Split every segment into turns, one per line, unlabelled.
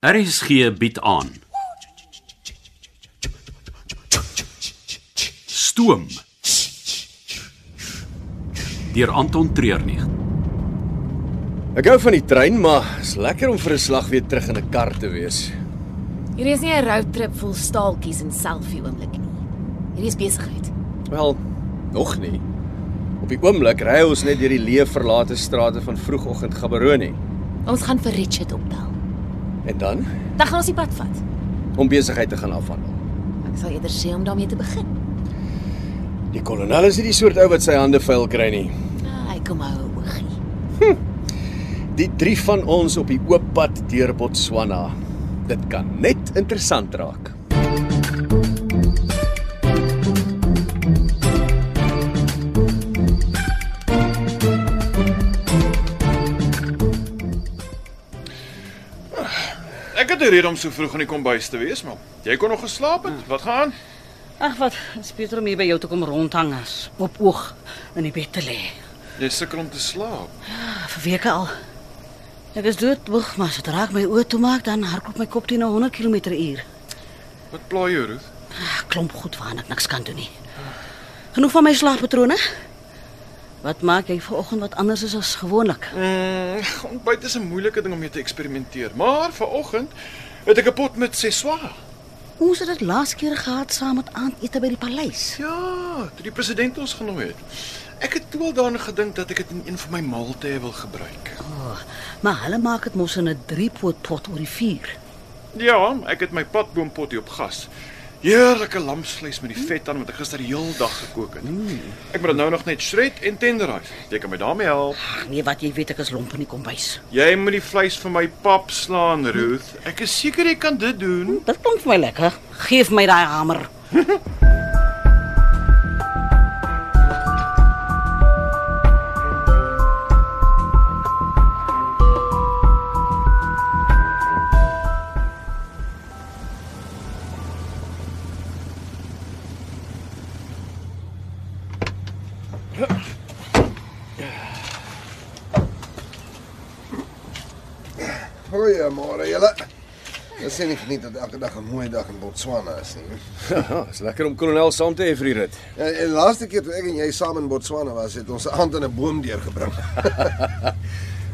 RSG bied aan. Stoom. Deur Anton Treurnig.
Ek hou van die trein, maar is lekker om vir 'n slag weer terug in 'n kar te wees.
Hierdie is nie 'n roadtrip vol staaltjies en selfie oomblik nie. Hierdie is besigheid.
Wel, nog nie. Op die oomblik ry ons net deur die leë verlate strate van vroegoggend Gaborone.
Ons gaan vir Richard opbel.
En dan
Dan gaan ons die pad vat.
om besigheid te gaan afhandel.
Ek sal eerder sê om daarmee te begin.
Die kolonel is nie die soort ou wat sy hande vuil kry nie.
Ah, ek kom hou 'n oogie.
Die drie van ons op die oop pad deur Botswana. Dit kan net interessant raak.
Ek het 'n rede om so vroeg in die kombuis te wees, man. Jy kon nog geslaap het. Wat gaan?
Ag wat, is beter om hier by jou te kom rondhang as op oog in die bed te lê.
Jy sukkel om te slaap.
Vir weke al. Ek is doodmoeg, maar sodra ek my oë toemaak, dan hardloop my kop teen 100 km/h.
Wat pla jou, Ruth?
Ag, klomp goed waarna ek niks kan doen nie. Genoeg van my slaappatrone. Wat maak jy vanoggend wat anders is as gewoonlik?
Mm, ontbyt is 'n moeilike ding om mee te eksperimenteer, maar vanoggend het ek 'n pot met seswa.
Ons het dit laas keer gehad saam met aandete by die paleis.
Ja, toe die president ons genooi het. Ek het toe al daaraan gedink dat ek dit in een van my maaltye wil gebruik.
Maar hulle maak dit mos in 'n 3-poot pot oor die vuur.
Ja, ek het my padboompotjie op gas. Heerlike lamsvleis met die vet aan wat ek gister die heel dag gekook het. Ek moet dit nou nog net shred en tenderize. Jy kan my daarmee help.
Ag nee, wat jy weet ek is lomp in die kombuis.
Jy moet die vleis vir my pap slaan, Ruth. Ek is seker jy kan dit doen.
Dit klink vir my lekker. Geef my daai hamer.
Goeiemôre julle. Dit sien ek nie dat elke dag 'n mooi dag in Botswana is nie.
Haha, is lekker om kolonel saam te hê vir die rit.
En, en laaste keer toe ek en jy saam in Botswana was, het ons 'n aand in 'n boom deurgebring.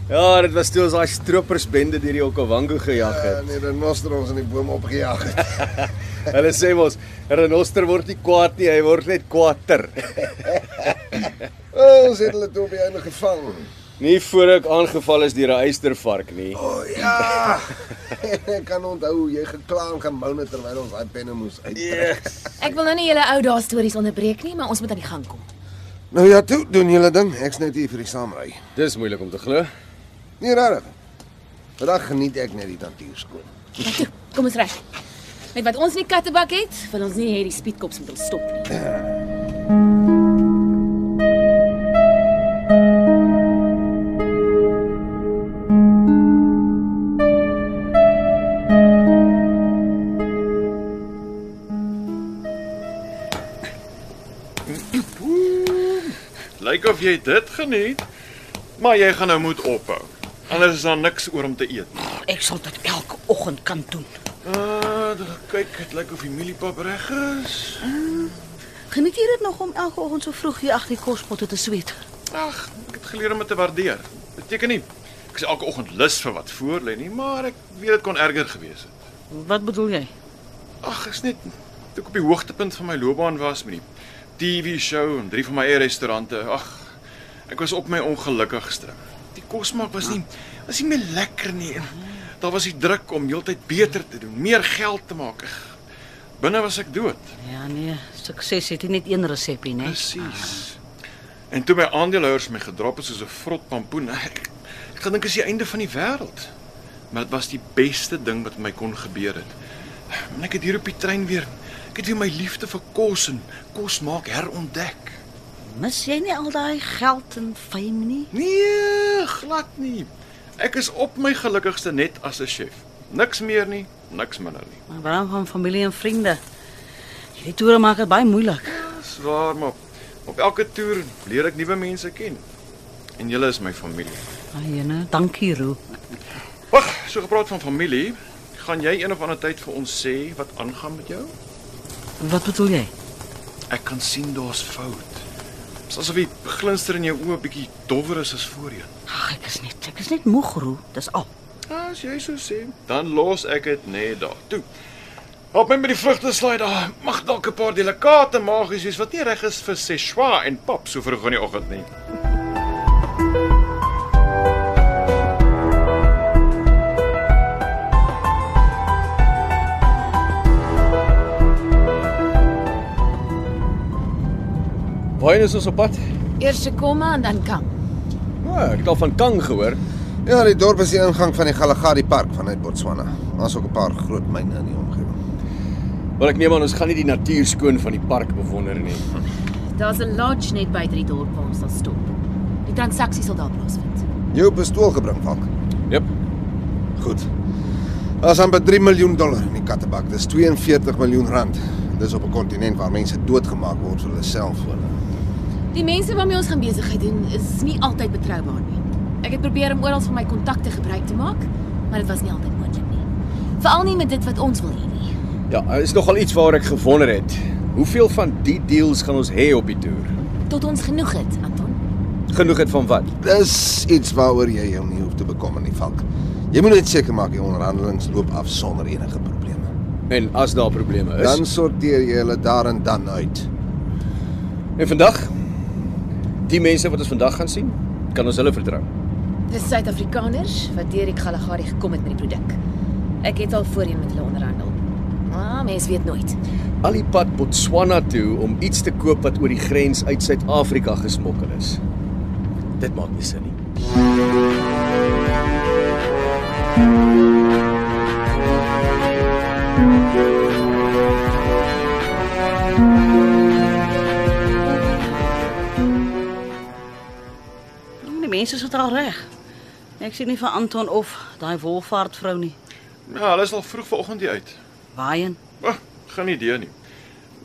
Ja, dit was toe ons daai stropersbende deur die Okavango gejag het.
En die renosterons in die boom opgejaag het.
Hulle sê mos, renoster word nie kwaad nie, hy word net kwaater.
Oh, Ons het hulle toe op die einde gevang.
Nie voor ek aangeval is deur 'n eystervark nie.
O oh, ja. ek kan onthou hoe jy gekla en gemou het terwyl ons daai penne moes uittrek. Yeah.
Ek wil nou nie julle ou dae stories onderbreek nie, maar ons moet aan die gang kom.
Nou ja, toe doen julle ding. Ek's net hier vir die saamry.
Dis moeilik om te glo.
Nee, regtig. Vandag geniet ek net die tantuur skoon.
Maar toe, kom ons reg. Met wat ons nie kattebak het, wil ons nie hê die spietkops moet ons stop nie.
Lyk of jy dit geniet, maar jy gaan nou moet ophou. Anders is daar niks oor om te eet. nie.
Ek sal dit elke oggend kan doen.
Ah, uh, kyk, dit lyk of die mieliepap reg is.
Geniet jy dit nog om elke oggend so vroeg hier agter die kospotte te sweet?
Ag, ek het geleer om dit te waardeer. Beteken nie ek is elke oggend lus vir wat voor lê nie, maar ek weet dit kon erger gewees het.
Wat bedoel jy?
Ag, is net toe ek op die hoogtepunt van my loopbaan was met die TV-show en drie van my eie restaurante. Ag, ek was op my ongelukkigste. Die kosmaak was nie was nie meer lekker nie. En daar was die druk om heeltyd beter te doen, meer geld te maak. Ag, Binne was ek dood.
Ja nee, sukses het nie net een resepie nie.
Presies. En toe my aandeelhouers my gedrop het soos 'n vrot pampoen, ek, ek gedink is die einde van die wêreld. Maar dit was die beste ding wat my kon gebeur het. En ek het hier op die trein weer ek het weer my liefde vir kos en kos maak herontdek.
Mis jy nie al daai geld en fame nie?
Nee, glad nie. Ek is op my gelukkigste net as 'n chef. Niks meer nie, niks minder nie.
Maar waarom van familie en vriende? Hierdie toere maak dit baie moeilik.
Dis waar, maar op elke toer leer ek nuwe mense ken. En julle is my familie.
Ai nee, dankie Roo.
Wag, so gepraat van familie. Gaan jy een of ander tyd vir ons sê wat aangaan met jou?
Wat bedoel jy?
Ek kan sien daar's fout. Dit is asof die glinster in jou oë bietjie dowwer is as voorheen.
Ag, ek is net ek is net moeg roe, dis al.
As jy so sê, dan los ek dit net daar. Toe. Help my met die vrugte slaai daar. Mag dalk 'n paar delikate magies wees wat nie reg is vir Szechuan en pap so vroeg in die oggend nie.
Waarheen is ons op pad?
Eers Koma en dan Kam.
O, ek het al van Kang gehoor.
Ja, die dorp is die ingang van die Galagadi Park vanuit Botswana. Daar's ook 'n paar groot myne in die omgewing.
Maar ek neem aan ons gaan nie die natuur skoon van die park bewonder nie.
Daar's 'n lodge net by die dorp waar ons sal stop. Die transaksie sal daar plaasvind.
Jou pistool gebring, Falk.
Jep.
Goed. Daar's amper 3 miljoen dollar in die kattebak. Dis 42 miljoen rand. Dis op 'n kontinent waar mense doodgemaak word vir hulle selfone.
Die mense waarmee ons gaan besigheid doen is nie altyd betroubaar nie. Ek het probeer om oral van my kontakte gebruik te maak, maar dit was nie altyd moontlik nie. Veral nie met dit wat ons wil hê nie.
Ja, is nogal iets waar ek gewonder het. Hoeveel van die deals gaan ons hê op die toer?
Tot ons genoeg het, Anton.
Genoeg het van wat?
Dis iets waaroor jy jou nie hoef te bekommer nie, Falk. Jy moet net seker maak die onderhandelinge loop af sonder enige probleme.
En as daar probleme is,
Dan sorteer jy hulle daar en dan uit.
en vandag die mense wat ons vandag gaan sien, kan ons hulle vertrou.
Dis Suid-Afrikaners wat deur die Kalahari gekom het met die produk. Ek het al voorheen met hulle onderhandel. Maar mense weet nooit.
Al die pad Botswana toe om iets te koop wat oor die grens uit Suid-Afrika gesmokkel is. Dit maak nie sin nie.
Die mense sit al reg. Ek sien nie vir Anton of daai wolvaartvrou nie.
Ja, hulle is al vroeg vanoggend hier uit.
Waarheen?
Ag, geen idee nie.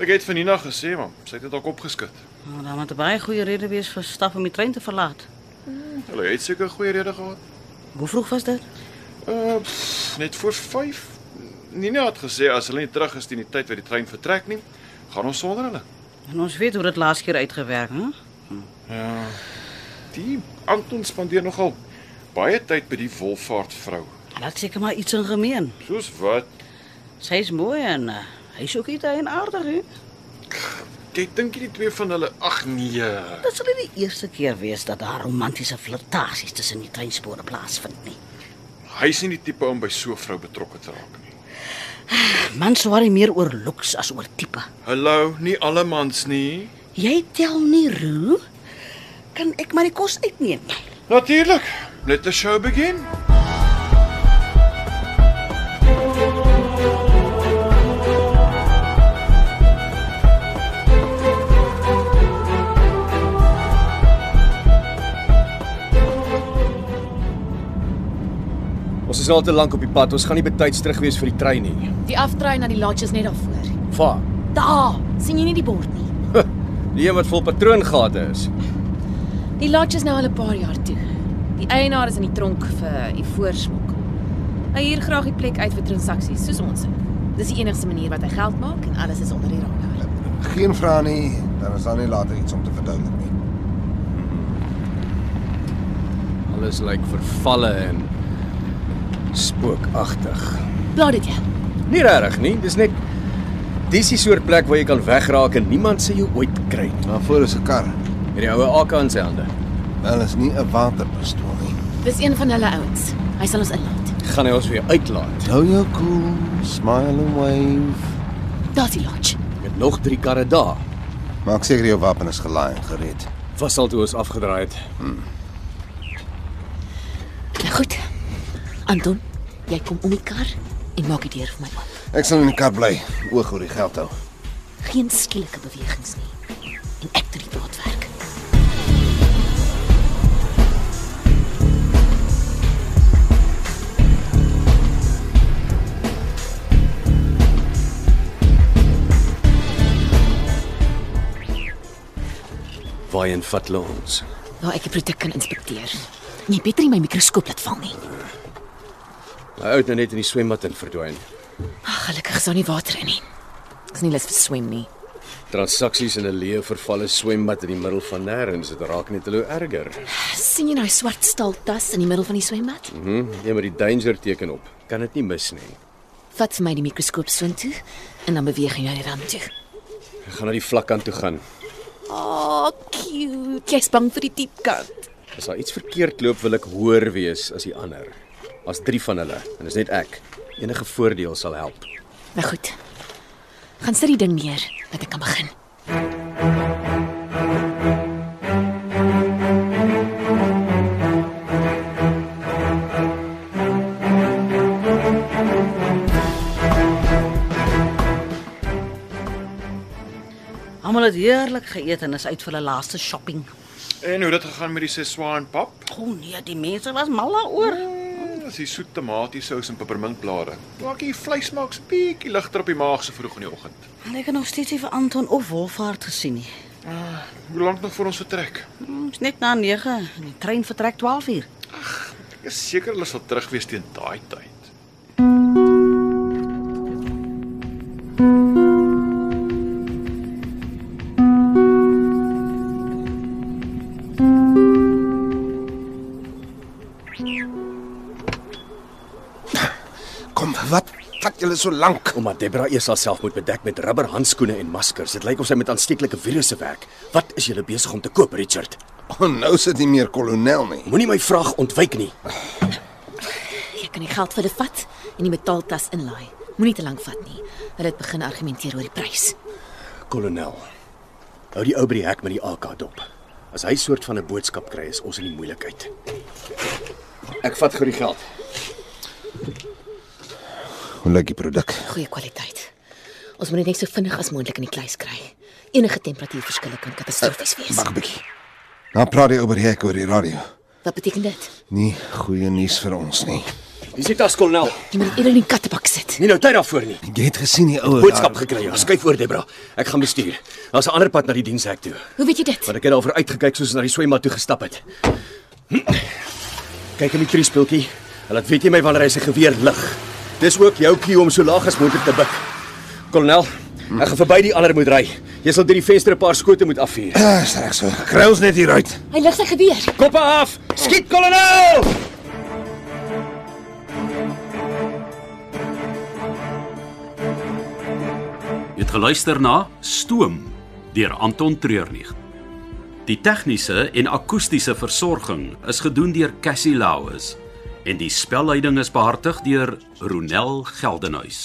Ek het van Nina gesê, maar sy het dit dalk opgeskit.
Nou, dan moet 'n baie goeie rede wees vir staf om die trein te verlaat.
Hulle het seker 'n goeie rede gehad.
Hoe vroeg was dit?
Uh, pff, net voor 5. Nina het gesê as hulle nie terug is teen die tyd wat die trein vertrek nie, gaan ons sonder hulle.
En ons weet hoe dit laas keer uitgewerk, hè?
Ja. Die Anton spandeer nogal baie tyd by die wolvaartvrou.
Laat seker maar iets in gemeen.
Soos wat?
Sy's mooi en uh, hy's ook iets en aardig, hè?
Ek dink nie die twee van hulle ag nee.
Dit sal nie die eerste keer wees dat daar romantiese flirtasies tussen die treinspore plaasvind nie.
Hy's nie die tipe om by so 'n vrou betrokke te raak nie.
Mans worry meer oor looks as oor tipe.
Hallo, nie alle mans nie.
Jy tel nie, Roo. Kan ek maar die kos uitneem?
Natuurlik. Let the show begin.
Ons is nou al te lank op die pad. Ons gaan nie betyds terug wees vir die trein nie.
Die aftrein na die lodge is net daarvoor.
Vaar.
Daar, sien jy nie die bord nie.
Die een wat vol patroongate is.
Die lodge is nou al 'n paar jaar toe. Die eienaar is in die tronk vir die voorsmokkel. Hy huur graag die plek uit vir transaksies soos ons. Dis die enigste manier wat hy geld maak en alles is onder die radar.
Geen vrae nie, dan is daar nie later iets om te verduidelik nie.
Alles lyk vervalle en spookagtig.
Blaat dit ja. jou.
Nie regtig nie, dis net dis die soort plek waar jy kan wegraak en niemand sê jy ooit kry nie.
Maar voor is 'n kar.
Hierdie oue AK in sy hande.
Wel is nie 'n waterpistool nie.
Dis een van hulle ouens. Hy sal ons inlaat.
Gaan hy ons weer uitlaat.
Hou jou cool, smile and wave.
Daar's die lodge.
Met nog 3 karre daar.
Maak seker jou wapen is gelaai en gereed.
Was al toe ons afgedraai het.
Nou goed. Anton, jy kom om die kar en maak die deur vir my oop.
Ek sal in die kar bly, oog oor die geld hou.
Geen skielike bewegings nie. En ek doen die broodwerk.
Waarheen vat hulle ons?
Nee, Waar ek die produk kan inspekteer. En Jy beter nie my mikroskoop laat val nie.
Hy het nou net in die swembad in verdwyn.
Ag, gelukkig is daar nie water in nie. Ek is nie lus vir swem nie.
Transaksies in 'n leë vervalle swembad in die middel van nêrens, dit raak net al hoe erger.
sien jy nou swart staltas in die middel van die swembad?
Hm, jy moet die danger teken op. Kan dit nie mis nie.
Vat vir my die mikroskoop soontoe en dan beweeg jy na die rand toe.
Ek gaan na die vlak kant toe gaan.
O, oh, cute. Jy's bang vir die diep kant.
As daar iets verkeerd loop, wil ek hoër wees as die ander. As 3 van hulle en dis net ek. Enige voordeel sal help.
Nou goed. Gaan sit die ding neer dat ek kan begin.
Almal het heerlik geëet en is uit vir hulle laaste shopping.
En hoe het dit gegaan met die seswa en pap?
O oh, nee, die mense was mal daaroor.
Mm, Dis die soet tomatiesous en pepermuntblare. Maak die vleismaak so bietjie ligter op die maag so vroeg in die oggend.
En ek het nog steeds nie vir Anton of Wolfhard gesien nie.
Hoe lank nog voor ons vertrek?
Hmm, Dit is net na 9 en die trein vertrek 12 uur.
Ek is seker hulle sal terug wees teen daai tyd.
Kom, wat vat julle so lank?
Omdat Debra eers haarself moet bedek met rubberhandskoene en maskers. Dit lyk of sy met aansteeklike virusse werk. Wat is jy besig om te koop, Richard?
Oh, nou sit nie meer kolonel nie.
Moenie my vraag ontwyk nie.
Jy kan die geld vir hulle vat en die metaaltas inlaai. Moenie te lank vat nie. Hulle het begin argumenteer oor die prys.
Kolonel. Hou die ou by die hek met die AK dop. As hy soort van 'n boodskap kry, is ons in die moeilikheid. Ek vat gou die geld.
Hoe lyk die produk?
Goeie kwaliteit. Ons moet dit net so vinnig as moontlik in die kluis kry. Enige temperatuurverskille kan katastrofies wees.
Wag 'n bietjie. Nou praat jy oor die hek oor die radio.
Wat beteken dit?
Nie goeie nuus vir ons nie.
Dis die tas, kolonel.
Jy moet eerder in die kattebak sit.
Nie nou tyd daarvoor nie.
Jy het gesien die ouer
Boodskap gekry. Ja. Skuif oor, Debra. Ek gaan bestuur. Daar's 'n ander pad na die dienshek toe.
Hoe weet jy dit?
Want ek het daaroor uitgekyk soos ons na die swembad toe gestap het. Hm. Kyk in die kriespultjie. Hulle laat weet jy my wanneer hy sy geweer lig. Dis ook jou cue om so laag as moontlik te buig. Kolonel, ek gaan verby die ander moet ry. Jy sal deur die venster 'n paar skote moet afvuur.
Ja, is reg so. Kry ons net hier uit.
Hy lig sy geweer.
Koppe af! Skiet, kolonel!
Jy het geluister na Stoom deur Anton Treurnig. Die tegniese en akoestiese versorging is gedoen deur Cassie Lauis en die spelleiding is behartig deur Ronel Geldenhuys.